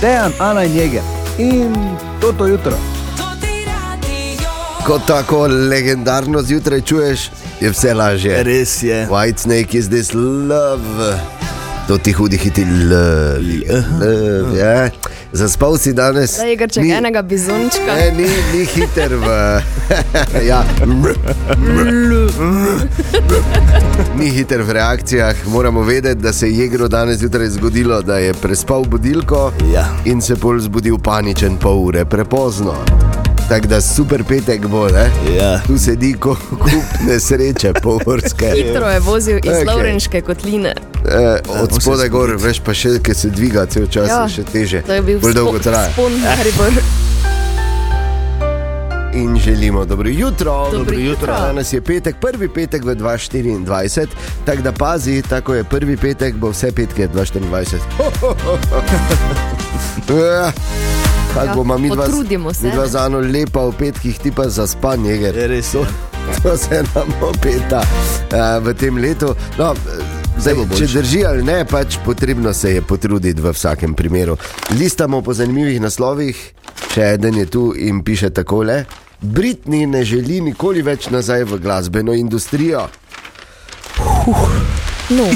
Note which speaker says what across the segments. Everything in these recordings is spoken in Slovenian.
Speaker 1: Dejan, Ana in Jeger in toto jutro.
Speaker 2: Ko tako legendarno zjutraj čuješ, je vse lažje.
Speaker 3: Res je.
Speaker 2: White Snake is this love. Do tih hudih hiti love. love ja. Zaspal si danes.
Speaker 4: Da je grček
Speaker 2: Ni-
Speaker 4: enega bizončka.
Speaker 2: Ne, Eh, ni, ni hiter v. ja. ni hiter v reakcijah. Moramo vedeti, da se je Jegro danes zjutraj zgodilo, da je prespal budilko
Speaker 3: Ja.
Speaker 2: in se bolj zbudil paničen pol ure prepozno. Tako da super petek bo, ne?
Speaker 3: Ja.
Speaker 2: Tu sedi ko- kup nesreče, povrske.
Speaker 4: Hitro je vozil iz
Speaker 2: Okej.
Speaker 4: okay. Lovrenške kotline.
Speaker 2: Eh, od spodaj gor, veš pa še, ki se dviga cel čas,
Speaker 4: Ja.
Speaker 2: ja. še teže.
Speaker 4: To je bil
Speaker 2: Bolj dolgo
Speaker 4: spo-
Speaker 2: traja.
Speaker 4: spon Maribor.
Speaker 2: In želimo dobro jutro. Dobro,
Speaker 4: jutro.
Speaker 2: Danes je petek, prvi petek v 2024, tako da pazi, tako je prvi petek, bo vse petke 2024. Eh, Tako
Speaker 4: Ja,
Speaker 2: ja, bomo mi dva,
Speaker 4: potrudimo se,
Speaker 2: mi dva
Speaker 4: ne.
Speaker 2: za eno lepa v petkih, ti pa za spanje. Ger.
Speaker 3: Je Ja, res je.
Speaker 2: To se nam opeta eh, v tem letu. No, eh, Zdaj,
Speaker 3: bo boljše.
Speaker 2: če drži ali ne, pač potrebno se je potruditi v vsakem primeru. Listamo po zanimivih naslovih, še eden je tu in piše takole: Britni ne želi nikoli več nazaj v glasbeno industrijo.
Speaker 4: No,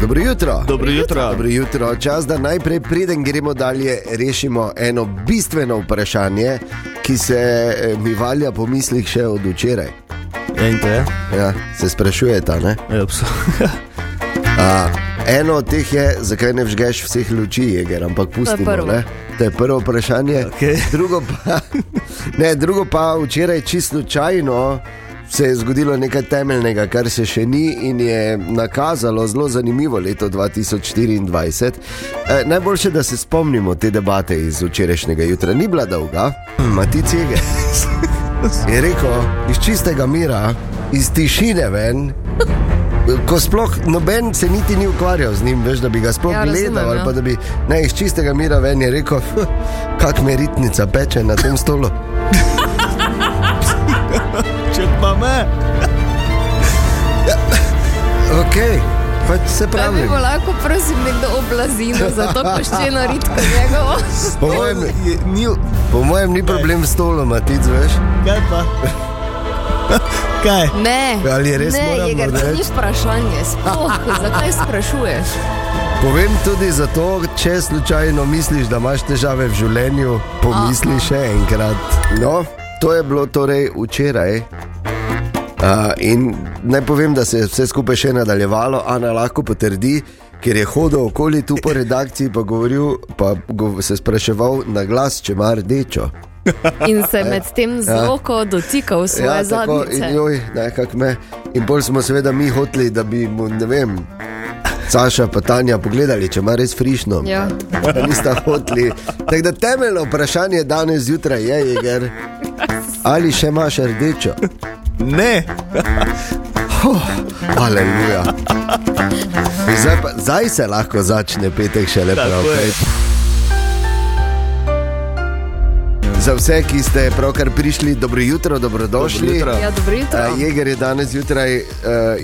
Speaker 2: Dobro jutro.
Speaker 3: Dobro jutro.
Speaker 2: Dobro jutro, čas, da najprej, preden gremo dalje, rešimo eno bistveno vprašanje, ki se eh, mi valja po mislih še od včeraj.
Speaker 3: Ja, in to je.
Speaker 2: Ja, se sprašujete, ne?
Speaker 3: Ja, pso.
Speaker 2: A, eno od teh je, zakaj ne vžgeš vseh luči, jeger, ampak pustimo.
Speaker 4: prvo.
Speaker 2: ne. to je prvo vprašanje.
Speaker 3: Okej.
Speaker 2: Drugo, pa, ne, drugo pa včeraj čisto slučajno. Se je zgodilo nekaj temeljnega, kar se še ni, in je nakazalo zelo zanimivo leto 2024. E, najboljše, da se spomnimo te debate iz včerajšnjega jutra. Ni bila dolga, Matice je rekel iz čistega mira, iz tišine ven. Ko sploh noben se niti ni ukvarjal z njim, veš, da bi ga sploh
Speaker 4: Ja,
Speaker 2: ja,
Speaker 4: razumem,
Speaker 2: gledal, ali
Speaker 4: ja.
Speaker 2: pa da bi ne, iz čistega mira ven je rekel, kak me ritnica peče na tem stolu.
Speaker 3: Če pa me.
Speaker 2: Ok, pač se
Speaker 4: da bi
Speaker 2: pravi.
Speaker 4: bilo lahko, prosim, nekdo oblazino za to koščeno ritko njegovo.
Speaker 2: Po mojem,
Speaker 3: Je, ni,
Speaker 2: po mojem ni problem s stolom, a ti veš.
Speaker 3: kaj pa? kaj?
Speaker 4: Ne,
Speaker 2: Ali je res
Speaker 4: ne,
Speaker 2: moramo
Speaker 4: Jeger, to ni
Speaker 2: reči?
Speaker 4: vprašanje. Sploh, zakaj sprašuješ?
Speaker 2: Povem tudi zato, če slučajno misliš, da imaš težave v življenju, pomisli še enkrat. No, to je bilo torej včeraj. Uh, in naj povem, da se je vse skupaj še nadaljevalo, Ana lahko potrdi, ker je hodil okoli tu po redakciji, pa, govoril, pa gov se spraševal na glas, če ima rdečo.
Speaker 4: In se med tem z roko dotikal svoje
Speaker 2: Ja. tako,
Speaker 4: zadnjice.
Speaker 2: in joj, nekako me. In bolj smo seveda mi hoteli, da bi mu, ne vem, Saša pa Tanja pogledali, če ima res frišno.
Speaker 4: Ja.
Speaker 2: Da nista hoteli. Tako da temeljno vprašanje danes zjutraj je, Jeger, ali še imaš rdečo.
Speaker 3: Ne.
Speaker 2: Aleluja. In Zdaj, pa, zdaj se lahko začne petek še lepo.
Speaker 3: Tako je.
Speaker 2: Za vse, ki ste pravkar prišli, dobro jutro, dobrodošli.
Speaker 3: Dobro jutro.
Speaker 4: Ja, dobro jutro.
Speaker 2: Eh, Jeger je danes zjutraj uh,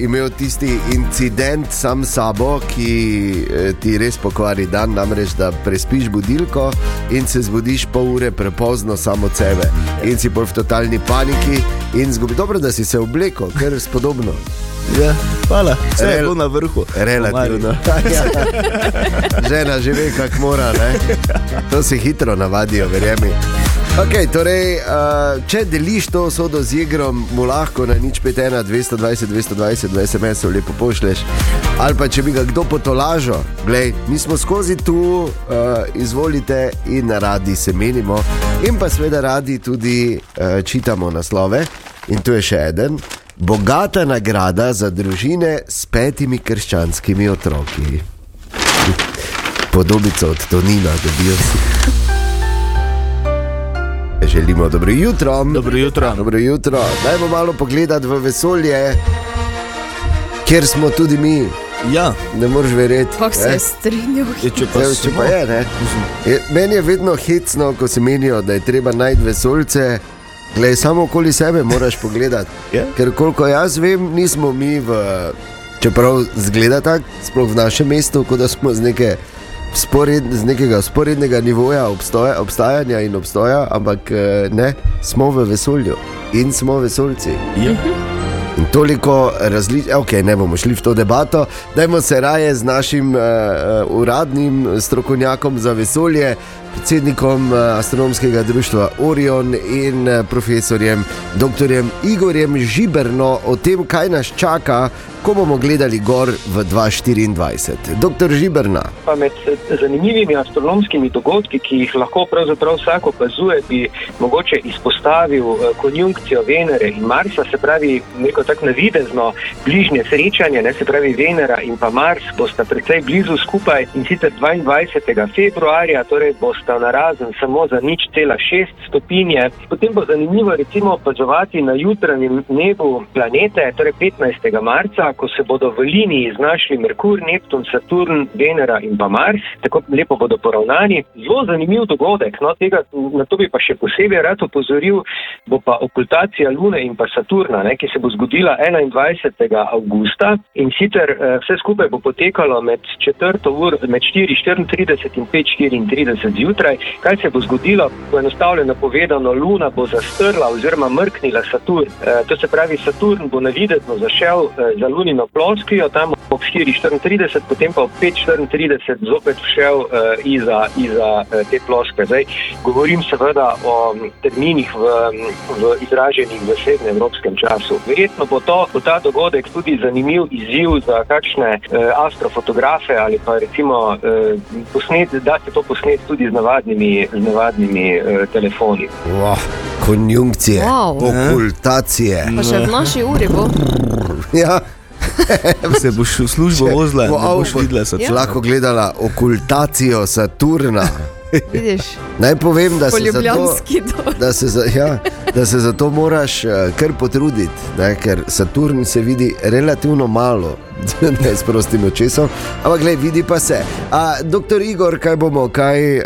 Speaker 2: imel tisti incident sam s sabo, ki uh, ti res pokvari dan, namreč da prespiš budilko in se zbudiš pol ure prepozno samo od sebe.
Speaker 3: Ja.
Speaker 2: In si bolj v totalni paniki in zgubi. Dobro, da si se oblekel, ker spodobno.
Speaker 3: Ja, hvala. Vse je
Speaker 2: Rel-
Speaker 3: bilo na vrhu.
Speaker 2: Relativno.
Speaker 3: Omari.
Speaker 2: Ja. Žena že ve, kako mora. Ne? To se hitro navadijo, verjemi. Okay, torej, uh, če deliš to sodo z igrom, mu lahko na nič 51, 220, 220, 20 SMS-ov lepo pošleš. Ali pa če bi ga kdo potolažil, glej, mi smo skozi tu, uh, izvolite in radi se menimo. In pa seveda radi tudi uh, čitamo naslove. In tu je še eden. Bogata nagrada za družine s petimi krščanskimi otroki. Podobico od Tonina dobijo si. Želimo dobro jutro.
Speaker 3: Dobro jutro.
Speaker 2: Dobro jutro. Dajmo malo pogledati v vesolje, kjer smo tudi mi.
Speaker 3: Ja,
Speaker 2: Ne moreš verjeti.
Speaker 4: Kako se
Speaker 2: ne?
Speaker 4: je strinjal?
Speaker 3: je, Ja, če pa
Speaker 2: Zdaj, če
Speaker 3: smo.
Speaker 2: pa je, ne. Je, meni je vedno hecno, ko se menijo, da je treba najti vesolce. Glej, samo okoli sebe moraš pogledati.
Speaker 3: Ja.
Speaker 2: Ker koliko jaz vem, nismo mi v Čeprav zgleda tako, sploh v našem mestu, kot da smo z, neke spored, z nekega sporednega nivoja obstoja, obstajanja in obstoja, ampak eh, ne, smo v vesolju in smo vesolci.
Speaker 3: Ja.
Speaker 2: In toliko različnih, ok, ne bomo šli v to debato, dajmo se raje z našim uh, uradnim strokovnjakom za vesolje, predsednikom uh, astronomskega društva Orion in uh, profesorjem dr. Igorjem Žiberno o tem, kaj nas čaka, ko bomo gledali gor v 2024. Dr. Žiberna.
Speaker 5: Pa med zanimivimi astronomskimi dogodki, ki jih lahko pravzaprav vsak opazuje, bi mogoče izpostavil eh, konjunkcijo Venere in Marsa, se pravi neko tako navidezno bližnje srečanje, ne, se pravi Venera in pa Mars bosta precej blizu skupaj in sicer 22. februarja, torej bosta narazen samo za nič cela šest stopinje. Potem bo zanimivo recimo opazovati na jutranjem nebu planete, torej 15. marca, ko se bodo v liniji znašli Merkur, Neptun, Saturn, Venera in pa Mars, tako lepo bodo poravnani. Zelo zanimiv dogodek, no tega na to bi pa še posebej rad opozoril, bo pa okultacija Lune in pa Saturna, ne, ki se bo zgodila 21. avgusta in sicer eh, vse skupaj bo potekalo med 4. ur, med 4.34 in 5.34 zjutraj. Kaj se bo zgodilo? Poenostavljeno povedano, Luna bo zastrla oziroma mrknila Saturn. Eh, to se pravi, Saturn bo navidezno zašel eh, za Lunino ploskvijo, tam ob 4.34, potem pa ob 5.34 zopet šel uh, iza, iza eh, te ploskve. Zdaj, govorim seveda o m, terminih v, m, v izraženih v srednjeevropskem času. Verjetno bo, to, bo ta dogodek tudi zanimiv izziv za kakšne uh, astrofotografe ali pa recimo uh, posnet, da se to posnet tudi z navadnimi, z navadnimi uh, telefoni.
Speaker 2: Wow, konjunkcije,
Speaker 4: Wow.
Speaker 2: okultacije.
Speaker 4: Pa še v naši uri bo.
Speaker 2: Ja.
Speaker 3: Se boš v službo vozila,
Speaker 2: Wow,
Speaker 3: wow, boš
Speaker 2: bo-
Speaker 3: videla se.
Speaker 2: Če lahko gledala okultacijo Saturna.
Speaker 4: Vidiš,
Speaker 2: Naj povem, da
Speaker 4: po
Speaker 2: se, za to,
Speaker 4: ljubljanski dol.
Speaker 2: da, se za, ja, da se za to moraš eh, kar potruditi, ne, ker Saturn se vidi relativno malo, ne s prostim očesom, ampak gled, vidi pa se. A, doktor Igor, kaj bomo kaj, uh,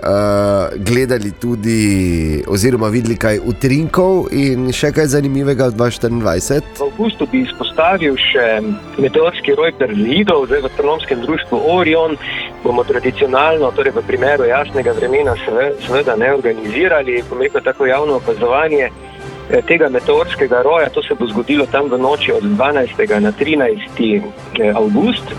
Speaker 2: gledali tudi, oziroma videli kaj utrinkov in še kaj zanimivega v 2024?
Speaker 5: V avgustu bi izpostavil še meteorski roj Perlidov, zdaj v astronomskem društvu Orion. Bomo tradicionalno, torej v primeru jasnega vremena, seve- seveda ne organizirali, bom rekel, tako javno opazovanje eh, tega meteorskega roja. To se bo zgodilo tam v noči od 12. na 13. avgust.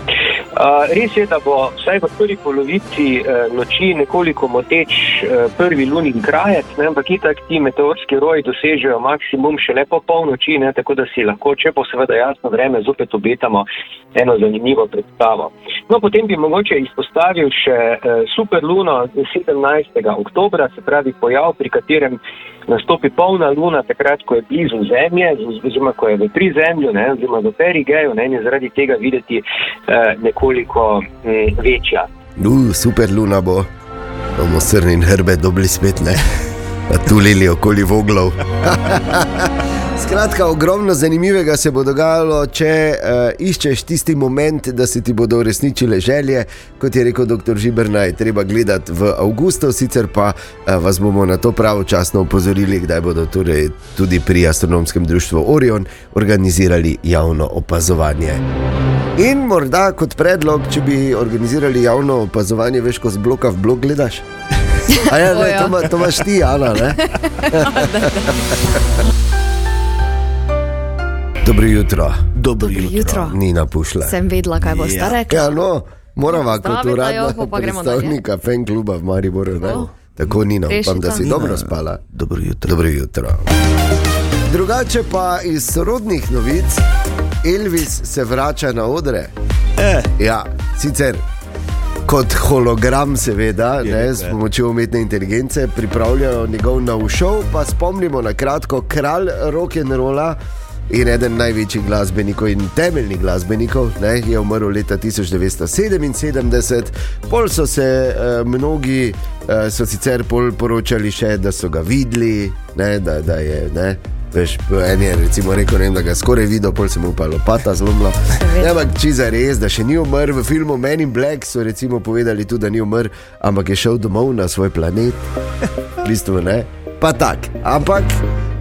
Speaker 5: Res je, da bo vsaj v prvi polovici eh, noči nekoliko moteč eh, prvi lunin krajec, ne, ampak itak ti meteorski roji dosežejo maksimum šele po polnoči, ne, tako da si lahko, če bo seveda jasno vreme, zopet obetamo eno zanimivo predstavo. No, potem bi mogoče izpostavil še eh, superluno 17. oktobra, se pravi pojav, pri katerem nastopi polna luna, takrat, ko je blizu Zemlje, oziroma ko je v prizemlju, ne, oziroma v perigeju, ne, in je zaradi tega videti eh, nekoliko m, večja.
Speaker 2: Uh, super luna bo, bomo srni in hrbe dobili spet ne. Tulili okoli voglov. Skratka, ogromno zanimivega se bo dogajalo, če uh, iščeš tisti moment, da se ti bodo uresničile želje. Kot je rekel dr. Žiberna, je treba gledati v avgustu, sicer pa uh, vas bomo na to pravočasno opozorili, kdaj bodo torej tudi pri astronomskem društvu Orion organizirali javno opazovanje. In morda kot predlog, če bi organizirali javno opazovanje, veš, ko z bloka v blok gledaš. A ja, ne, to, ma, to imaš ti, Ana. Ne? Dobro jutro,
Speaker 3: Dobro
Speaker 4: Dobro jutro.
Speaker 2: ni napušla.
Speaker 4: Sem vedela, kaj boš
Speaker 3: Ja.
Speaker 4: ja. rekla.
Speaker 2: Ja, no, morava kot
Speaker 4: Zdravita jo,
Speaker 2: uradna
Speaker 4: pol pa gremo No.
Speaker 2: predstavnika fan kluba v Mariboru. Ne?
Speaker 4: Tako.
Speaker 2: Tako ni, upam, da
Speaker 4: Rešita.
Speaker 2: si dobro spala.
Speaker 3: Dobro jutro.
Speaker 2: Dobro jutro. Drugače pa iz sorodnih novic, Elvis se vrača na odre.
Speaker 3: Eh.
Speaker 2: Ja, sicer kot hologram, seveda, ne, s pomočjo umetne inteligence pripravljajo njegov nov šov. Pa spomnimo na kratko, kralj rock'n'rolla. In eden največjih glasbenikov in temeljnih glasbenikov ne, je umrl leta 1977, pol so se eh, mnogi, eh, so sicer pol poročali še, da so ga videli, ne, da, da je. Ne, veš, en je recimo rekel, ne, vem, da ga je skoraj videl, pol se mu pa je lopata zlomila. Ne, Ampak če za res, da še ni umrl v filmu Men in Black, so recimo povedali tudi, da ni umrl, ampak je šel domov na svoj planet. V bistvu ne. Pa tak. Ampak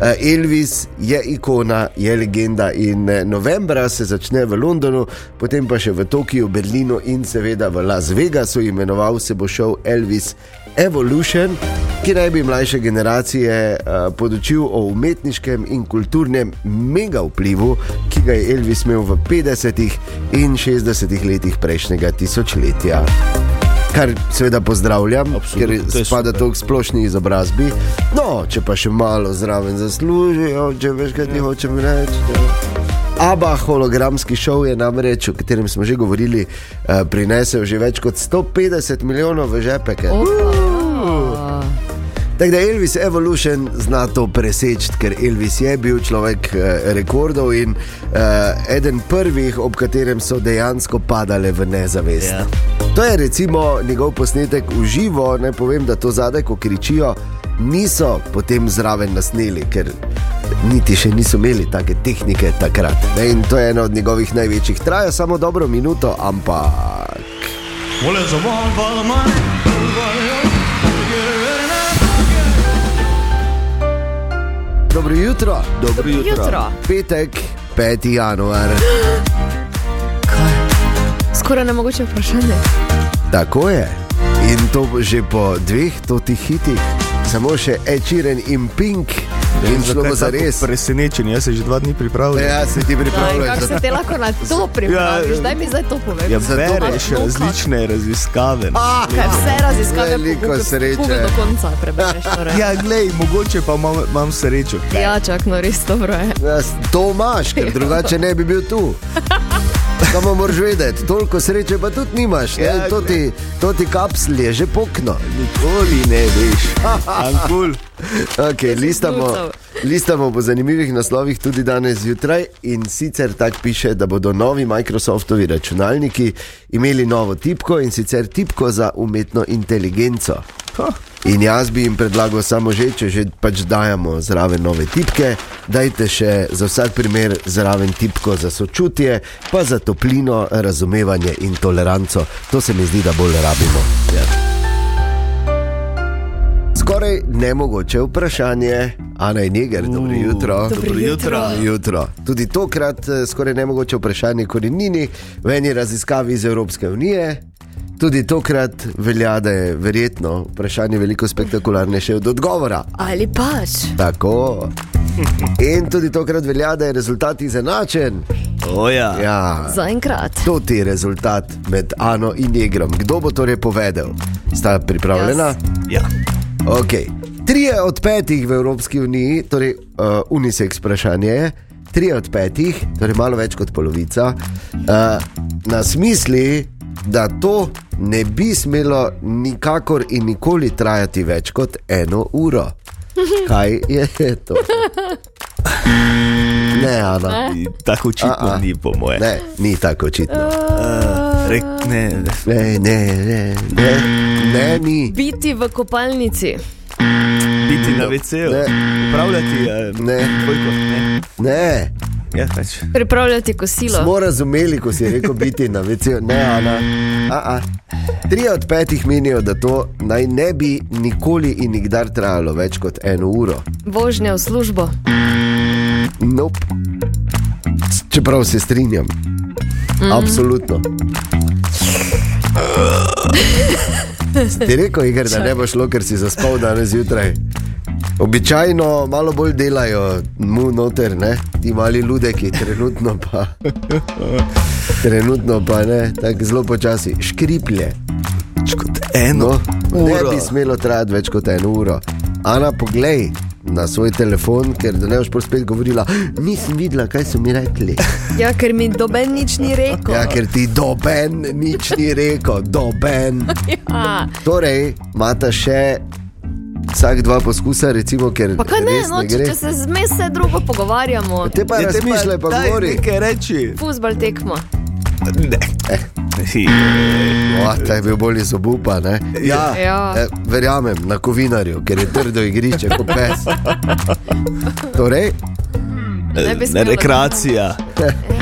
Speaker 2: Eh, Elvis je ikona, je legenda in eh, novembra se začne v Londonu, potem pa še v Tokiu, Berlinu in seveda v Las Vegasu. Imenoval se bo šel Elvis Evolution, ki naj bi mlajše generacije eh, podučil o umetniškem in kulturnem mega vplivu, ki ga je Elvis imel v 50-ih in 60-ih letih prejšnjega tisočletja. Kar seveda pozdravljam,
Speaker 3: Absolutno,
Speaker 2: ker
Speaker 3: to je
Speaker 2: spada
Speaker 3: super.
Speaker 2: to k splošni izobrazbi. No, če pa še malo zraven zaslužijo, če veš, kaj
Speaker 3: Ja.
Speaker 2: ti hočem reči. ne. Aba hologramski šov je namreč, o katerem smo že govorili, eh, prinesel že več kot 150 milijonov v žepeke.
Speaker 4: Opa.
Speaker 2: Tako da Elvis Evolution zna to preseči, ker Elvis je bil človek eh, rekordov in eh, eden prvih, ob katerem so dejansko padale v nezavest.
Speaker 3: Ja.
Speaker 2: To je recimo njegov posnetek v živo, ne povem, da to zadaj, ko kričijo, niso potem zraven nasneli, ker niti še niso imeli take tehnike takrat. Ne? In to je ena od njegovih največjih, traja samo dobro minuto, ampak.
Speaker 6: Well, it's a one for the money.
Speaker 2: Dobro jutro,
Speaker 3: Dobro jutro.
Speaker 4: Jutro.
Speaker 2: petek, 5. januar.
Speaker 4: Skoraj nemogoče vprašanje.
Speaker 2: Tako je. In to že po dveh totih hitih, samo še Ečiren in Pink, in šlo bo za res.
Speaker 3: Presenečen, jaz se že dva dni pripravljam.
Speaker 2: Ja, se ti
Speaker 4: Aj,
Speaker 2: pripravljaš.
Speaker 4: Kako se
Speaker 2: za-
Speaker 4: te lahko na to pripraviš?
Speaker 3: ja.
Speaker 4: Daj mi zdaj to povej.
Speaker 3: Ja,
Speaker 2: Zato-
Speaker 3: bereš
Speaker 4: Kako?
Speaker 3: različne raziskave.
Speaker 2: Ah,
Speaker 4: Kaj vse raziskave
Speaker 2: Veliko
Speaker 4: po Google-
Speaker 2: sreče.
Speaker 4: Google do konca prebereš. Torej.
Speaker 3: Ja, glej, mogoče pa imam, imam srečo.
Speaker 4: Ja, čak, no res dobro je.
Speaker 2: Ja, s- To imaš, ker drugače ne bi bil tu. Samo moraš vedeti, toliko sreče pa tudi nimaš. Ne?
Speaker 3: Ja,
Speaker 2: To ti, to ti kapsl je že pokno.
Speaker 3: Nikoli ne veš. Ankul.
Speaker 2: Okay, listamo,
Speaker 4: zglucal.
Speaker 2: listamo po zanimivih naslovih tudi danes zjutraj in sicer tako piše, da bodo novi Microsoftovi računalniki imeli novo tipko in sicer tipko za umetno inteligenco. In jaz bi jim predlagal samo že, če že pač dajemo zraven nove tipke, dajte še za vsak primer zraven tipko za sočutje, pa za toplino, razumevanje in toleranco. To se mi zdi, da bolj rabimo. Ja. Skoraj nemogoče vprašanje, Ana in Jeger, dobro jutro.
Speaker 4: Dobro jutro.
Speaker 2: Dobro jutro. Tudi tokrat eh, skoraj nemogoče vprašanje korenini v eni raziskavi iz Evropske unije. Tudi tokrat velja, da je verjetno vprašanje veliko spektakularnejše od odgovora.
Speaker 4: Ali pač.
Speaker 2: Tako. In tudi tokrat velja, da je rezultat izenačen.
Speaker 3: Oja. Ja.
Speaker 2: Ja.
Speaker 4: Zaenkrat.
Speaker 2: To ti je rezultat med Ano in Jegrom. Kdo bo torej povedal? Sta pripravljena?
Speaker 4: Jaz.
Speaker 3: ja.
Speaker 2: Okay. Trije od petih v Evropski uniji, torej uh, unisex vprašanje je, trije od petih, torej malo več kot polovica, uh, nas misli, da to ne bi smelo nikakor in nikoli trajati več kot eno uro. Kaj je to? Ne, Ana.
Speaker 3: In Tako
Speaker 2: A, a.
Speaker 3: očitno ni po moje.
Speaker 2: Ne, ni tako očitno.
Speaker 3: Rek, ne.
Speaker 2: Ne, ne, ne, ne, ne ni.
Speaker 4: Biti v kopalnici.
Speaker 3: Biti na WC-ju.
Speaker 2: Ne.
Speaker 3: Upravljati. Eh,
Speaker 2: Ne.
Speaker 3: Koliko? Ne.
Speaker 2: Ne.
Speaker 3: Ja, pač.
Speaker 4: Pripravljati kosilo.
Speaker 2: Smo razumeli, ko si rekel biti na večer, ne, Ana. A -a. Tri od petih menijo, da to naj ne bi nikoli in nikdar trajalo več kot eno uro.
Speaker 4: Vožnja v službo.
Speaker 2: Nope. Čeprav se strinjam. Mm. Absolutno. Ti rekel, Igor, da ne bo šlo, ker si zaspal danes zjutraj. Običajno malo bolj delajo, mu noter, ne? ti mali ludeki, trenutno pa. Trenutno pa ne, tako zelo počasi, škriplje.
Speaker 3: Več pač kot eno. Ja,
Speaker 2: No, ne bi smelo trajati več kot eno uro. Ana, poglej na svoj telefon, ker da ne boš pol spet govorila, nisem videla, kaj so mi rekli.
Speaker 4: Ja, ker mi doben nič ni rekel.
Speaker 2: Ja, ker ti doben nič ni rekel, doben.
Speaker 4: Ja.
Speaker 2: Torej, imata še vsak dva poskusa, recimo, ker
Speaker 4: Pa kaj ne,
Speaker 2: res
Speaker 4: no,
Speaker 2: ne
Speaker 4: če,
Speaker 2: gre.
Speaker 4: če se zmes vse drugo pogovarjamo.
Speaker 2: Te pa
Speaker 3: Ja, te
Speaker 2: razmišljaj, pa
Speaker 3: daj
Speaker 2: govori.
Speaker 3: Nekaj reči.
Speaker 4: Fuzbal tekmo.
Speaker 3: Ne.
Speaker 2: Eh.
Speaker 3: Si.
Speaker 2: O, ta je bil bolj iz obupa. Ne? Ja,
Speaker 4: Ja.
Speaker 2: Eh, verjamem na kovinarju, ker je trdo igrišče kot pes. Torej,
Speaker 4: Ne bi smelo.
Speaker 3: eh, Rekreacija.
Speaker 2: eh,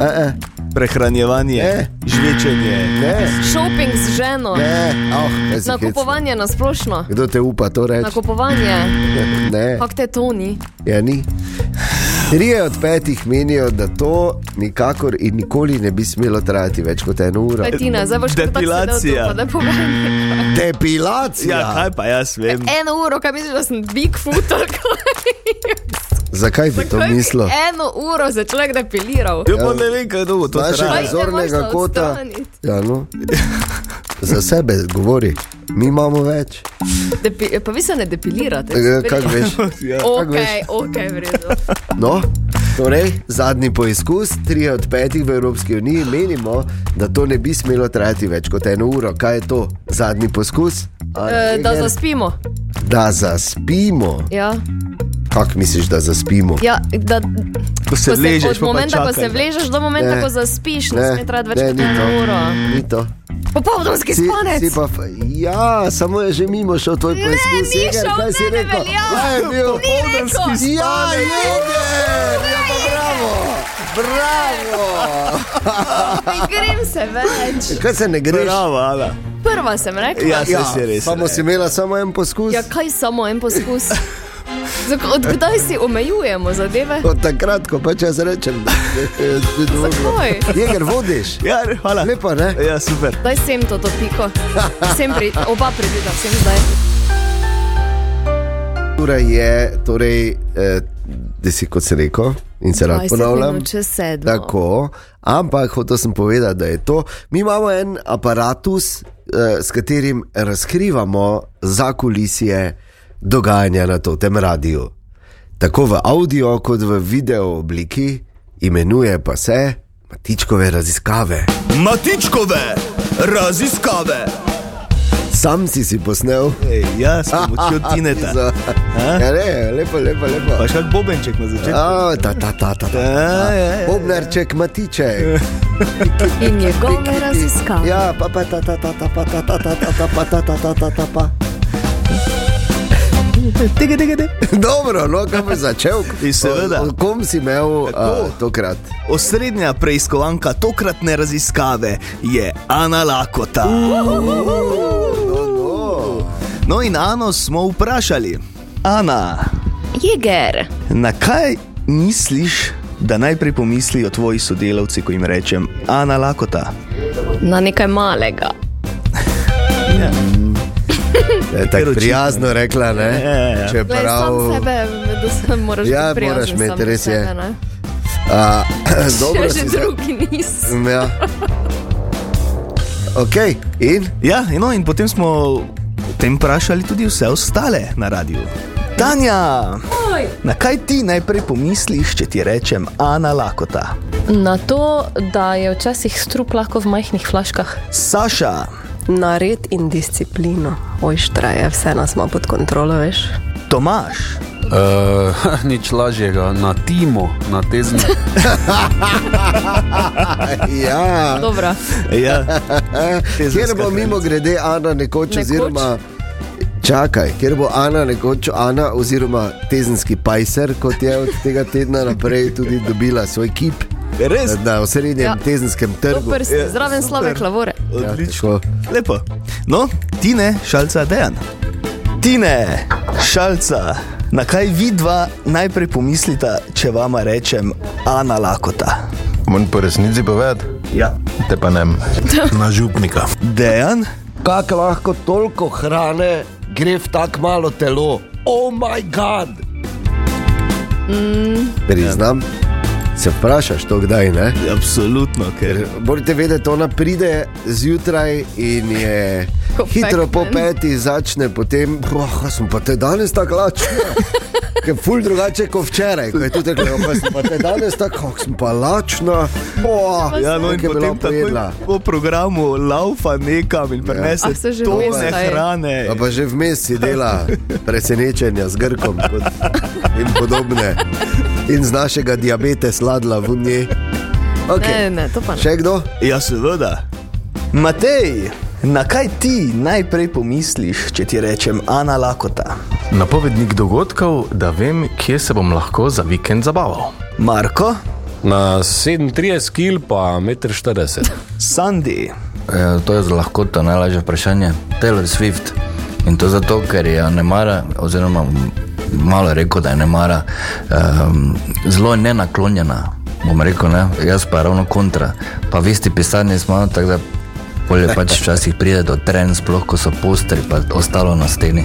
Speaker 2: eh.
Speaker 3: prehranjevanje,
Speaker 2: Ne.
Speaker 3: žvečenje.
Speaker 2: Ne,
Speaker 4: Šoping z ženo,
Speaker 2: ne,
Speaker 3: Ah.
Speaker 2: oh, kaj si hecno.
Speaker 4: nakupovanje na splošno.
Speaker 2: Kdo te upa to reči?
Speaker 4: Nakupovanje,
Speaker 2: Ne,
Speaker 4: kako te to ni.
Speaker 2: ja, ni. Trije od petih menijo, da to nikakor in nikoli ne bi smelo trajati več kot eno uro.
Speaker 4: Petina, zdaj boš kot
Speaker 3: Depilacija.
Speaker 4: da povem.
Speaker 2: Depilacija!
Speaker 3: Ja, kaj pa jaz vem.
Speaker 4: Eno uro, kaj misliš, da sem Bigfoot ali kaj?
Speaker 2: Zakaj bi to
Speaker 4: Zakaj bi Eh,
Speaker 2: mislil?
Speaker 4: Eno uro za človek depiliral.
Speaker 3: Jo, Ja, pa ne vem, kaj dolgo to
Speaker 2: Našega
Speaker 3: traja.
Speaker 4: Kaj ne moreš
Speaker 2: zornega
Speaker 4: to
Speaker 2: kota.
Speaker 4: odstraniti?
Speaker 2: Ja, no. Za sebe govori, mi imamo več.
Speaker 4: Depi, pa vi se ne depilirate.
Speaker 2: Eh, Kaj veš?
Speaker 3: Ja.
Speaker 4: Ok,
Speaker 2: veš?
Speaker 4: ok, vredno.
Speaker 2: No, torej, zadnji poizkus, tri od petih v Evropski uniji menimo, da to ne bi smelo trajati več kot eno uro. Kaj je to? Zadnji poskus? Ali je
Speaker 4: E, Eh, Da
Speaker 2: ger-
Speaker 4: zaspimo.
Speaker 2: da zaspimo.
Speaker 4: Ja.
Speaker 2: Kako misliš, da zaspimo?
Speaker 4: Ja, da,
Speaker 3: Ko se
Speaker 4: ko se-
Speaker 3: ležeš,
Speaker 4: od
Speaker 3: pa pa
Speaker 4: momenta, ko se
Speaker 3: čakaj.
Speaker 4: vležeš, do momenta,
Speaker 2: Ne.
Speaker 4: ko zaspiš, ne sme trajati več
Speaker 2: ne,
Speaker 4: kot
Speaker 2: ni
Speaker 4: eno uro.
Speaker 2: to. Ni to.
Speaker 4: Popoldanski
Speaker 2: Si, si
Speaker 4: spanec.
Speaker 2: pa, f- ja, samo je že mimo šel tvoj
Speaker 4: Ne,
Speaker 2: poizkus.
Speaker 4: ni
Speaker 2: Igor,
Speaker 4: šel,
Speaker 2: kaj si
Speaker 4: ne, ne
Speaker 2: rekel?
Speaker 4: velja.
Speaker 2: Kaj je bil?
Speaker 4: Ni rekel.
Speaker 2: Ja,
Speaker 4: Ne.
Speaker 2: Jeger! Ja, pa bravo! Bravo!
Speaker 4: Ne grem se več.
Speaker 2: Kaj se ne greš?
Speaker 3: Bravo, Ala.
Speaker 4: Prva sem rekla.
Speaker 3: Ja, se si res.
Speaker 2: Samo
Speaker 3: ne.
Speaker 2: si imela samo en poskus.
Speaker 4: Ja, kaj samo en poskus? Zak- Od kdaj si omejujemo zadeve?
Speaker 2: Od takrat, ko pač jaz rečem, da je spet drugo.
Speaker 4: Zakaj?
Speaker 2: Jeger, vodiš.
Speaker 3: Ja, hvala.
Speaker 2: Lepo, ne?
Speaker 3: Ja, super.
Speaker 4: Daj sem to, to piko. Sem pri, oba pridita, sem zdaj.
Speaker 2: Ura je, torej, eh, deset kot se reko in se rad
Speaker 4: 20
Speaker 2: ponavljam.
Speaker 4: minut čez sedmo.
Speaker 2: Tako, ampak hotel sem povedati, da je to. Mi imamo en aparatus, eh, s katerim razkrivamo zakulisje dogajanja na to tem radiju. Tako v audio, kot v video obliki, imenuje pa se Matičkove raziskave.
Speaker 3: Matičkove raziskave.
Speaker 2: Sam si si posnel.
Speaker 3: Ej, ja, s pomočjo Tineta.
Speaker 2: Za- Ja, ne, lepo, lepo, lepo.
Speaker 3: Pa še kak bobenček na začetku.
Speaker 2: A, ta, ta, ta, ta. ta.
Speaker 3: Ja, ja, ja.
Speaker 2: Bobnarček, matiček.
Speaker 4: In njegove raziskave.
Speaker 2: Ja, pa pa ta, ta, ta, ta, pa ta, ta, ta, ta, ta, pa ta, ta, ta, ta, ta, pa.
Speaker 3: Tega, tega, tega.
Speaker 2: Dobro, no, kam bi začel?
Speaker 3: In seveda. E,
Speaker 2: O, o kom si imel
Speaker 3: Tako.
Speaker 2: a, tokrat? E,
Speaker 3: Osrednja preiskovanka tokratne raziskave je Ana Lakota. No, in Ano smo vprašali, Ana,
Speaker 4: Jeger.
Speaker 3: na kaj misliš, da najprej pomislijo tvoji sodelavci, ko jim rečem Ana Lakota?
Speaker 4: Na nekaj malega.
Speaker 2: Je
Speaker 3: Ker
Speaker 2: tako
Speaker 3: očitno-
Speaker 2: prijazno rekla, ne?
Speaker 3: Ja, ja, ja.
Speaker 4: Glej,
Speaker 2: Čeprav.
Speaker 4: sam sebe, da se moraš
Speaker 2: Ja,
Speaker 4: biti prijazen
Speaker 2: moraš imeti,
Speaker 4: sam do
Speaker 2: res je.
Speaker 4: sebe, ne?
Speaker 2: A, dobro,
Speaker 4: Če
Speaker 2: si
Speaker 4: že
Speaker 2: se-
Speaker 4: drugi nisi.
Speaker 2: Ja. Ok, in?
Speaker 3: Ja, no, in potem smo potem vprašali tudi vse ostale na radiju. Tanja, na kaj ti najprej pomisliš, če ti rečem Ana Lakota?
Speaker 7: Na to, da je včasih strup lahko v majhnih flaškah.
Speaker 3: Saša,
Speaker 8: Na red in disciplino. Ojštraje, vse nas ima pod kontrolo, veš.
Speaker 3: Tomaš.
Speaker 9: Uh, nič lažjega, na timu, na tezni.
Speaker 2: Ja. Eh,
Speaker 4: Dobro.
Speaker 3: Ja,
Speaker 2: Kjer bo mimo grede Ana nekoč, nekoč? oziroma čakaj, kjer bo Ana nekoč, Ana oziroma tezenski pajser, kot je od tega tedna naprej tudi dobila svoj kip
Speaker 3: res
Speaker 2: na osrednjem ja.
Speaker 4: Ja.
Speaker 2: tezenskem trgu.
Speaker 4: Dober si,
Speaker 3: Ja,
Speaker 4: zraven slave
Speaker 3: super.
Speaker 4: klavore.
Speaker 3: odlično.
Speaker 2: Tako.
Speaker 3: Lepo. No, Tine, šalca, dejan. Tine, šalca, na kaj vi dva najprej pomislita, če vama rečem Ana Lakota?
Speaker 10: Moram po resnici povedati,
Speaker 3: Ja.
Speaker 10: te pa ne. Na župnika.
Speaker 3: Dejan,
Speaker 2: Kako lahko toliko hrane gre v tako malo telo? Oh, moj bog! Mm. Priznam, se vprašaš to kdaj, ne?
Speaker 3: Ja, absolutno, ker
Speaker 2: Morate vedeti, ona pride zjutraj in je
Speaker 4: Ko
Speaker 2: hitro po
Speaker 4: pekmen.
Speaker 2: peti, začne potem, oh, jaz sem pa te danes tako lačna. Ker je ful drugače kot včeraj, ko je tudi rekel, "Oh, pa sem pa te danes tako, oh, sem pa lačna. Oh,
Speaker 3: Ja, no, in
Speaker 2: kaj je bila
Speaker 3: potem takoj
Speaker 2: pojedla.
Speaker 3: po programu laufa nekam in prenese
Speaker 4: Ah, se že
Speaker 3: tone
Speaker 4: vmes, kaj je.
Speaker 3: hrane.
Speaker 2: A pa že vmes si dela presenečenja z Grkom kot, in podobne. In z našega diabete sladla v njej.
Speaker 4: Ne,
Speaker 2: Okay.
Speaker 4: ne, to pa ne.
Speaker 2: Še kdo?
Speaker 3: Ja, seveda. Matej, na kaj ti najprej pomisliš, če ti rečem Ana Lakota?
Speaker 10: Napovednik dogodkov, da vem, kje se bom lahko za vikend zabaval.
Speaker 3: Marko,
Speaker 11: Na 37 kil pa 1,40 m.
Speaker 3: Sandy.
Speaker 12: E, to je z lahkoto najlažje vprašanje. Taylor Swift. In to zato, ker je ne mara, oziroma malo je rekel, da je ne mara, um, zelo nenaklonjena. Bom rekel, ne? jaz pa ravno kontra. Pa veste, pisanje smo, tako da polje pač včasih pride do tren, sploh ko so postri, pa ostalo na steni.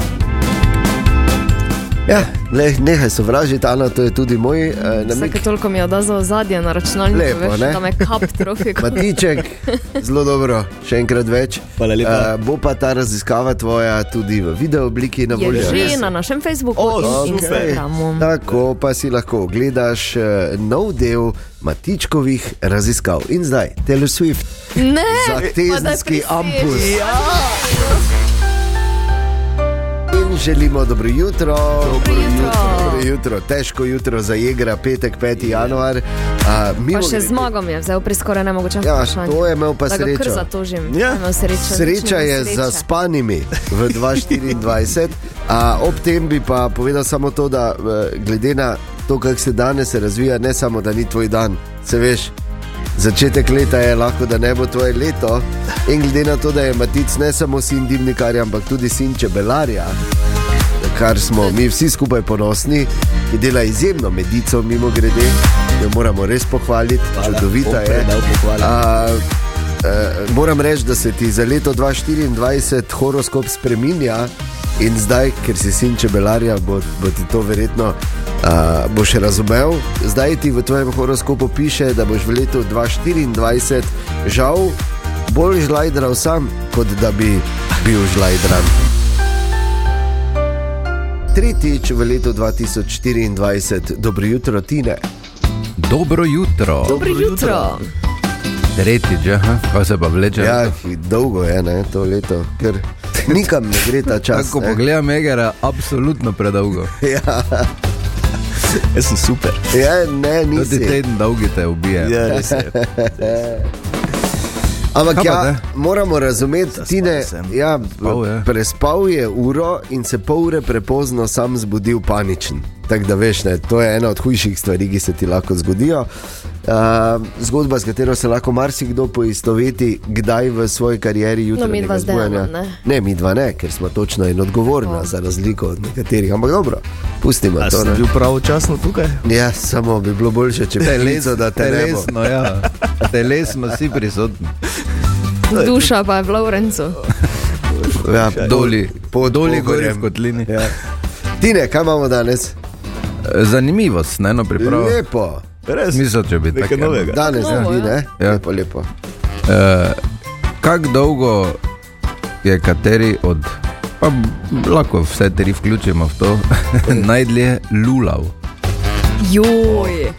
Speaker 2: Ja, le, nehaj sovražiti, Ana, to je tudi moj uh, namik.
Speaker 4: Vsake toliko mi je da za ozadje na računalniku,
Speaker 2: Lepo,
Speaker 4: veš,
Speaker 2: ne?
Speaker 4: da me kap trofi. ko-
Speaker 2: Matiček, zelo dobro, še enkrat več.
Speaker 3: lepa.
Speaker 2: Uh, bo pa ta raziskava tvoja tudi v video obliki na voljo.
Speaker 4: Je že na našem Facebooku in Instagramu.
Speaker 2: Tako pa si lahko ogledaš eh, nov del Matičkovih raziskav. In zdaj, Taylor Swift,
Speaker 4: Ne,
Speaker 2: zahtevski
Speaker 4: pa da Ja.
Speaker 2: ampus.
Speaker 4: priseš.
Speaker 2: In želimo dobro jutro. Dobro jutro. Dobro jutro. Težko jutro za jegra, petek 5. januar. A,
Speaker 4: Pa še
Speaker 2: mimogrede-
Speaker 4: zmago mi je vzel pri skoraj nemogočem
Speaker 2: Ja,
Speaker 4: vprašanju.
Speaker 2: to je imel pa
Speaker 4: da
Speaker 2: srečo.
Speaker 4: Da ga kar zatožim.
Speaker 2: Ja.
Speaker 4: Ja. Srečo,
Speaker 2: Sreča je za spanimi v 2024. A, ob tem bi pa povedal samo to, da eh, glede na to, kako se danes razvija, ne samo da ni tvoj dan, se veš. Začetek leta je lahko, da ne bo tvoje leto. In glede na to, da je Matic ne samo sin dimnikarja, ampak tudi sin čebelarja, na kar smo mi vsi skupaj ponosni, ki dela izjemno medico, mimo grede, jo moramo res pohvaliti, Hvala, čudovita je. A, e, Moram reči, da se ti za leto 2024 horoskop spreminja in zdaj, ker si sin čebelarja, bo, bo ti to verjetno uh, boš razumel. Zdaj ti v tvojem horoskopu piše, da boš v letu 2024 žal bolj žlajdral sam, kot da bi bil žlajdran. Tretjič v letu 2024, dobro jutro, Tine.
Speaker 9: Dobro jutro.
Speaker 4: Dobro jutro.
Speaker 9: Tretjič, aha, kaj se pa vleče.
Speaker 2: Ja, dolgo je ne, to leto, ker nikam ne gre ta čas.
Speaker 9: Tako
Speaker 2: ne.
Speaker 9: pogledam, Egera, absolutno predolgo.
Speaker 2: Ja.
Speaker 9: Jaz sem super.
Speaker 2: Ja, ne, nisi.
Speaker 9: Tudi teden dolgi No, te ubije.
Speaker 3: Ja,
Speaker 12: Ja.
Speaker 2: Ampak
Speaker 9: Kaj pa
Speaker 2: ja,
Speaker 9: te?
Speaker 2: moramo razumeti, Tine, ja,
Speaker 9: Prespal je.
Speaker 2: prespal je uro in se pol ure prepozno sam zbudil paničen. Tako da veš, ne, to je ena od hujših stvari, ki se ti lahko zgodijo. Uh, zgodba, s katero se lahko marsikdo poistoveti, kdaj v svoji karieri jutri.
Speaker 4: midva No, z Dejanom, ne.
Speaker 2: ne, mi dva ne, ker smo točno in odgovorna, za razliko od nekaterih. Ampak dobro, pustimo
Speaker 3: A
Speaker 2: to.
Speaker 3: sem
Speaker 2: ne.
Speaker 3: bil pravočasno tukaj?
Speaker 2: Ja, samo bi bilo boljše, če bi rekel, da te ne bo.
Speaker 9: telesno, ja. telesno si prisoten.
Speaker 4: Duša pa je v Lovrencu.
Speaker 2: Ja,
Speaker 9: doli,
Speaker 2: po
Speaker 9: doli gori
Speaker 2: Pohorjem.
Speaker 9: v kotlini.
Speaker 2: Ja. Tine, kaj imamo danes?
Speaker 9: Zanimivost, ne eno pripravo.
Speaker 2: Lepo.
Speaker 9: Res. Mislim, če bi tako eno.
Speaker 2: Danes
Speaker 9: ja.
Speaker 2: ni, ne?
Speaker 9: Ja.
Speaker 2: Lepo, lepo.
Speaker 9: Eh, Kako dolgo je kateri od, pa b- lahko vse tri vključimo v to, najdlje lulav?
Speaker 4: Joj.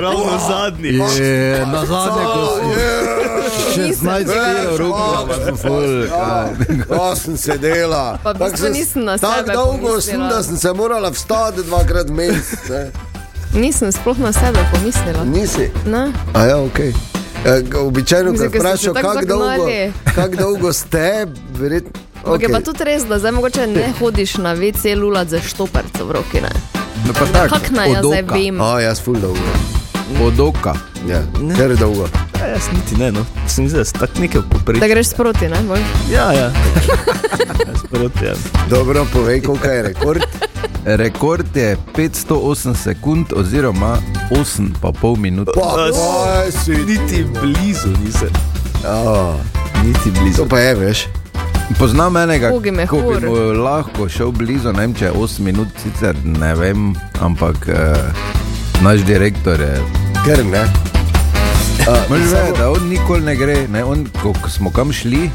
Speaker 3: Ravno zadnji.
Speaker 9: Je, na zadnje, ko
Speaker 2: Ja.
Speaker 9: si 16 kg roko, sem full.
Speaker 2: Ja, Ko sem sedela,
Speaker 4: Pa v
Speaker 2: tako
Speaker 4: bistvu
Speaker 2: sem-
Speaker 4: nisem na sebe
Speaker 2: Tako dolgo sem,
Speaker 4: pomislila.
Speaker 2: da sem se morala vstati dvakrat mesec. ne.
Speaker 4: Nisem sploh na sebe pomislila.
Speaker 2: Nisi.
Speaker 4: Ne?
Speaker 2: A ja, ok. E, ga- Običajno, ko
Speaker 4: Mislim, ker ste
Speaker 2: vprašajo,
Speaker 4: se tako
Speaker 2: kako dolgo,
Speaker 4: zagnali.
Speaker 2: kak dolgo ste, verjetno.
Speaker 4: Okay. Je pa
Speaker 2: Okay.
Speaker 4: tudi res, da zdaj mogoče ne hodiš na WC lulat za štoparco v roki. Ne?
Speaker 9: No, pa tako,
Speaker 4: Kako naj jaz
Speaker 9: od
Speaker 4: zdaj
Speaker 9: oka.
Speaker 4: vem?
Speaker 2: A, jaz ful dolgo.
Speaker 9: Od oka.
Speaker 2: Ja, ker dolgo.
Speaker 3: Ja, jaz niti ne, no. sem zdaj tak nekaj
Speaker 4: Da
Speaker 3: poprečen.
Speaker 4: greš sproti, ne? Bolj?
Speaker 3: Ja, ja. Jaz proti, ja.
Speaker 2: Dobro, povej, koliko je rekord.
Speaker 9: Rekord je 508 sekund oziroma 8,5 minut.
Speaker 2: Pa, pa, si,
Speaker 3: Niti blizu nisem.
Speaker 2: oh,
Speaker 3: Niti blizu.
Speaker 2: to pa je, veš.
Speaker 9: Poznam enega,
Speaker 4: Ugi mehur.
Speaker 9: ko bi mu lahko šel blizu, ne vem, če je 8 minut, sicer ne vem, ampak eh, naš direktor je.
Speaker 2: Ker ne.
Speaker 9: Možeš vedeti, da on nikoli ne gre. Ne? On, ko ko smo kam šli,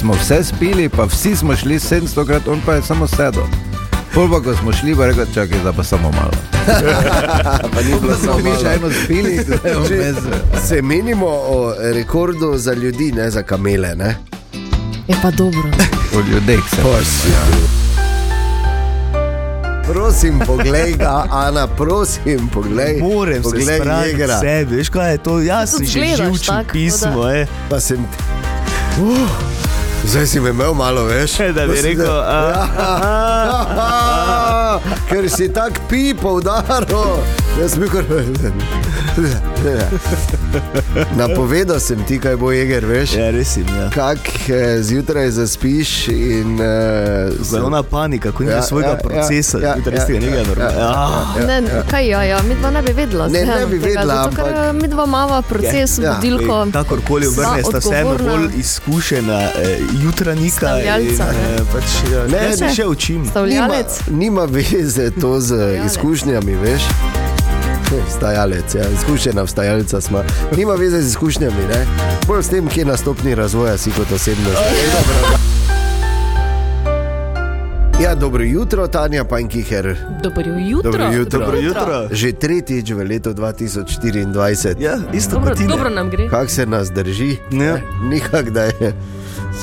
Speaker 9: smo vse spili, pa vsi smo šli 700 krat, on pa je samo sedel. Pol pa, ko smo šli, pa je rekel, čakaj, zdaj pa samo malo.
Speaker 2: Pa ni bilo
Speaker 9: Smo
Speaker 2: samo
Speaker 9: mi še
Speaker 2: malo.
Speaker 9: eno spili, zdaj je vmes.
Speaker 2: Se menimo o rekordu za ljudi, ne za kamele. Ne?
Speaker 4: Je pa dobro.
Speaker 9: O ljudeh se.
Speaker 2: Prosim, poglej ga, Ana, prosim, poglej.
Speaker 3: Moram se
Speaker 2: poglej
Speaker 3: spraviti
Speaker 2: jegra.
Speaker 3: sebi, veš kaj je to? Jaz sem
Speaker 4: Tudi
Speaker 3: že
Speaker 4: gledaš
Speaker 3: živčen
Speaker 4: tako,
Speaker 3: pismo,
Speaker 4: da-
Speaker 3: eh. je.
Speaker 2: Pa sem. Uh, zdaj si me imel malo več.
Speaker 3: Da Ja. bi
Speaker 2: Prosim,
Speaker 3: rekel, a,
Speaker 2: Ja. ja, ker si tak pi poudaril. Jaz bi kar. Napovedal sem ti, kaj bo jeger, veš?
Speaker 3: Ja, res je. Ja.
Speaker 2: Kak eh, zjutraj zaspiš in. Eh,
Speaker 3: Zdaj ona panika, ko
Speaker 2: Ja,
Speaker 3: nima svojega procesa, zjutraj iz tega nekaj normalnega. Ah.
Speaker 4: Ne, kaj ja, ja, mi dva ne bi vedela.
Speaker 2: Ne, ne
Speaker 4: vseeno
Speaker 2: bi
Speaker 4: tega,
Speaker 2: vedela,
Speaker 4: Zato, ker eh,
Speaker 2: ampak-
Speaker 4: mi dva mava proces,
Speaker 2: Ja, ja.
Speaker 4: budilko.
Speaker 3: Kakorkoli
Speaker 4: sva
Speaker 3: obrneš, sta vseeno
Speaker 4: odgovorna.
Speaker 3: bolj izkušena eh, jutranjika. In,
Speaker 4: Stavljalca, ne.
Speaker 3: eh, pač, ja,
Speaker 2: Ne,
Speaker 3: ne, jaz se še učim.
Speaker 4: Stavljalec.
Speaker 2: Nima, nima veze to z izkušnjami, veš. Stajalec, ja, izkušena stajalca smo. Nima veze z izkušnjami, ne? bolj s tem, kje na stopni razvoja si kot osebnost. Ja, dobro jutro, Tanja Pankiher.
Speaker 7: Dobro jutro.
Speaker 2: Dobro jutro. Že tretjič v letu 2024.
Speaker 3: Ja, isto
Speaker 7: Dobro, dobro nam gre.
Speaker 2: Kako se nas drži, ne. nikak da je,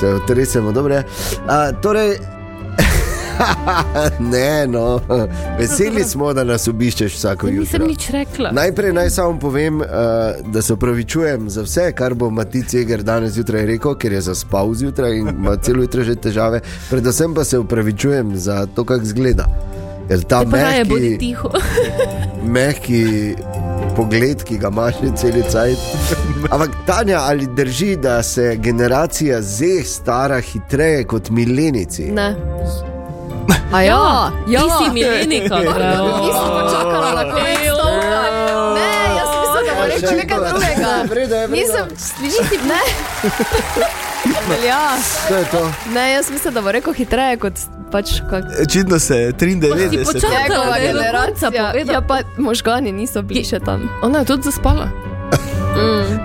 Speaker 2: se otresemo. Dobre. A, torej, ne, no. veseli smo, da nas obiščeš vsako jutro.
Speaker 7: Nisem nič rekla.
Speaker 2: Najprej naj samo povem, uh, da se opravičujem za vse, kar bo Matic Jeger danes zjutraj rekel, ker je zaspal zjutraj in ima celo jutro že težave. Predvsem pa se opravičujem za to, kako zgleda. Ker ta
Speaker 7: Pa raje bodi
Speaker 2: mehki,
Speaker 7: tiho.
Speaker 2: mehki pogled, ki ga imaš že celi cajt. Ampak Tanja, ali drži, da se generacija Z stara hitreje kot milenici?
Speaker 4: Ne. A ja, ja.
Speaker 7: Ti si milenika, ja.
Speaker 4: Nisem počakala na konec stavka. Ne, jaz mislim, da bo rekel nekaj
Speaker 2: Čakala.
Speaker 4: drugega.
Speaker 2: Vredo je, vredo.
Speaker 4: Nisem, niti ne. Ja.
Speaker 2: To je to.
Speaker 4: Ne, jaz mislim, da bo rekel hitreje kot pač kak.
Speaker 3: Očitno se je 93.
Speaker 4: Njegova
Speaker 7: da je do
Speaker 4: generacija
Speaker 7: konca povedala.
Speaker 4: Ja, pa možgani niso bili še tam.
Speaker 7: Ona je tudi zaspala.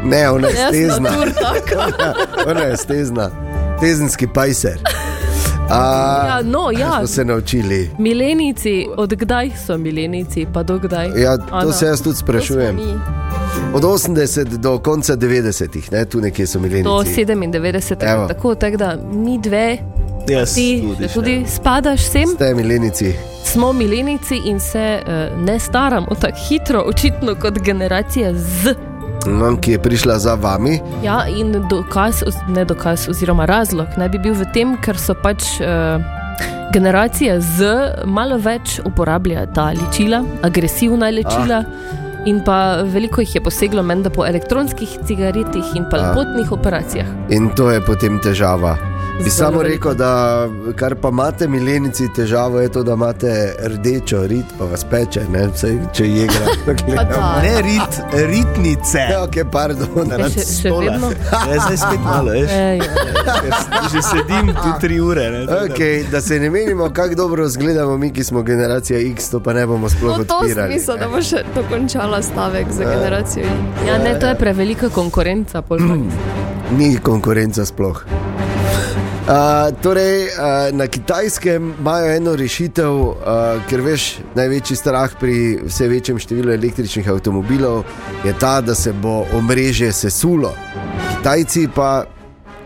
Speaker 2: Ne, ona je
Speaker 4: Jaz sem
Speaker 2: stezna.
Speaker 4: natur taka.
Speaker 2: Ona je stezna, tezenski pajser. A,
Speaker 7: Ja, no,
Speaker 2: kaj
Speaker 7: ja.
Speaker 2: Smo se naučili.
Speaker 7: Milenici, odkdaj so milenici, pa dokdaj?
Speaker 2: Ja, to se jaz tudi sprašujem.
Speaker 4: Mi.
Speaker 2: Od 80 do konca 90-ih, ne, tu nekje so bili.
Speaker 7: Do 97,
Speaker 2: Evo.
Speaker 7: tako, tako tak da mi dve,
Speaker 3: Jaz
Speaker 7: ti
Speaker 3: Ja, tudi
Speaker 7: tudi, tudi spadaš sem,
Speaker 2: Ste milenici.
Speaker 7: smo milenici in se uh, ne staramo tako hitro, očitno kot generacija z.
Speaker 2: Nam, ki je prišla za vami,
Speaker 7: Ja, in dokaz, oz- ne dokaz, oziroma razlog naj bi bil v tem, ker so pač uh, generacija z malo več uporablja ta ličila, agresivna ličila. Ah. In pa veliko jih je poseglo menda po elektronskih cigaretih in pa
Speaker 2: Ah.
Speaker 7: lepotnih operacijah.
Speaker 2: in to je potem težava. Bi
Speaker 7: Zelo
Speaker 2: samo
Speaker 7: veliko.
Speaker 2: rekel, da kar pa imate, milenici, težavo je to, da imate rdečo rit, pa vas peče, ne, Vsaj, če je igra.
Speaker 4: da.
Speaker 3: Ja, Ne rit, ritnice.
Speaker 2: Ja, ok, pardon.
Speaker 7: Ja, še- še
Speaker 3: Stola.
Speaker 7: vedno?
Speaker 3: Ja, zdaj spet malo, veš.
Speaker 7: Ej, ja.
Speaker 3: Ker Že sedim tu tri ure. Ne, tako da-
Speaker 2: Okay, da se ne menimo, kako dobro izgledamo mi, ki smo generacija X, to pa ne bomo sploh
Speaker 4: No, to sem
Speaker 2: odpirali.
Speaker 4: mislila, da bo še dokončala stavek
Speaker 3: Eh.
Speaker 4: za generacijo.
Speaker 7: ja, ne, to je prevelika konkurenca. pol pa-
Speaker 2: Ni konkurenca sploh. Uh, torej, uh, na kitajskem imajo eno rešitev, uh, ker veš, največji strah pri vse večjem številu električnih avtomobilov je ta, da se bo omrežje sesulo. Kitajci pa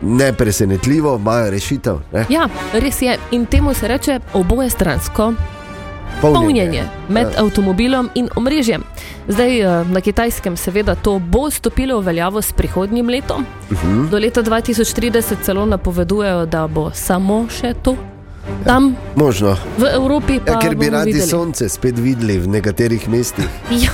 Speaker 2: ne presenetljivo imajo rešitev. Ne?
Speaker 7: Ja, res je. In temu se reče oboje stransko. polnjenje med
Speaker 2: Ja.
Speaker 7: avtomobilom in omrežjem. Zdaj eh, na kitajskem, seveda, to bo stopilo v veljavo s prihodnjim letom.
Speaker 2: Mhm.
Speaker 7: Do leta 2030 celo napovedujejo, da bo samo še to. Tam
Speaker 2: Možno.
Speaker 7: v Evropi pa
Speaker 2: Ja, ker bi
Speaker 7: bomo
Speaker 2: radi
Speaker 7: videli.
Speaker 2: sonce spet videli v nekaterih mestih.
Speaker 7: Ja,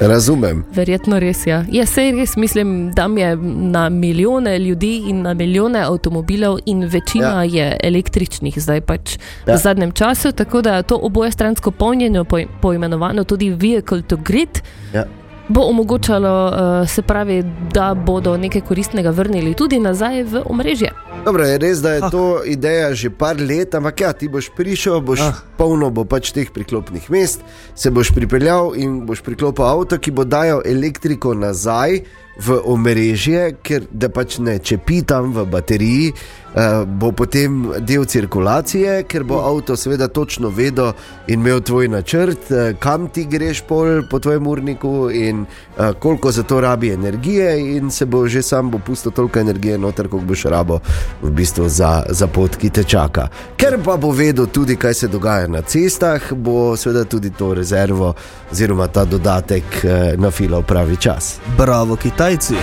Speaker 2: Razumem.
Speaker 7: verjetno res je. Ja, sej res mislim, da je na milijone ljudi in na milijone avtomobilov in večina ja. je električnih zdaj pač ja.
Speaker 2: Ja.
Speaker 7: v zadnjem času, tako da to oboje stransko polnjenje, poj- poimenovano tudi vehicle to grid,
Speaker 2: Ja.
Speaker 7: bo omogočalo, eh, se pravi, da bodo nekaj koristnega vrnili tudi nazaj v omrežje.
Speaker 2: Dobro, je res, da je to ideja že par let, ampak ja, ti boš prišel, boš ah. polno bo pač teh priklopnih mest, se boš pripeljal in boš priklopil avto, ki bo dajal elektriko nazaj v omrežje, ker da pač ne čepi tam v bateriji, eh, bo potem del cirkulacije, ker bo avto seveda točno vedel in imel tvoj načrt, eh, kam ti greš pol po tvojem urniku in eh, koliko za to rabi energije, in se bo že sam bo pusto toliko energije noter, koliko boš rabo v bistvu za, za pot, ki te čaka. Ker pa bo vedel tudi, kaj se dogaja na cestah, bo seveda tudi to rezervo oziroma ta dodatek eh, nafilal pravi čas.
Speaker 3: Bravo, Kitajci.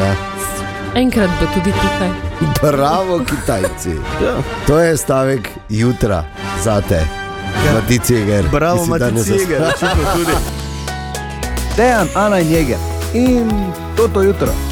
Speaker 2: Ja.
Speaker 7: Enkrat bo tudi tukaj.
Speaker 2: Bravo, Kitajci.
Speaker 3: Ja.
Speaker 2: To je stavek jutra za te. Mati Ceger.
Speaker 3: Ja. Bravo,
Speaker 2: Ti si danes
Speaker 3: Mati Ceger.
Speaker 2: zaslužil.
Speaker 1: Dejan, Ana in Jeger in toto jutro.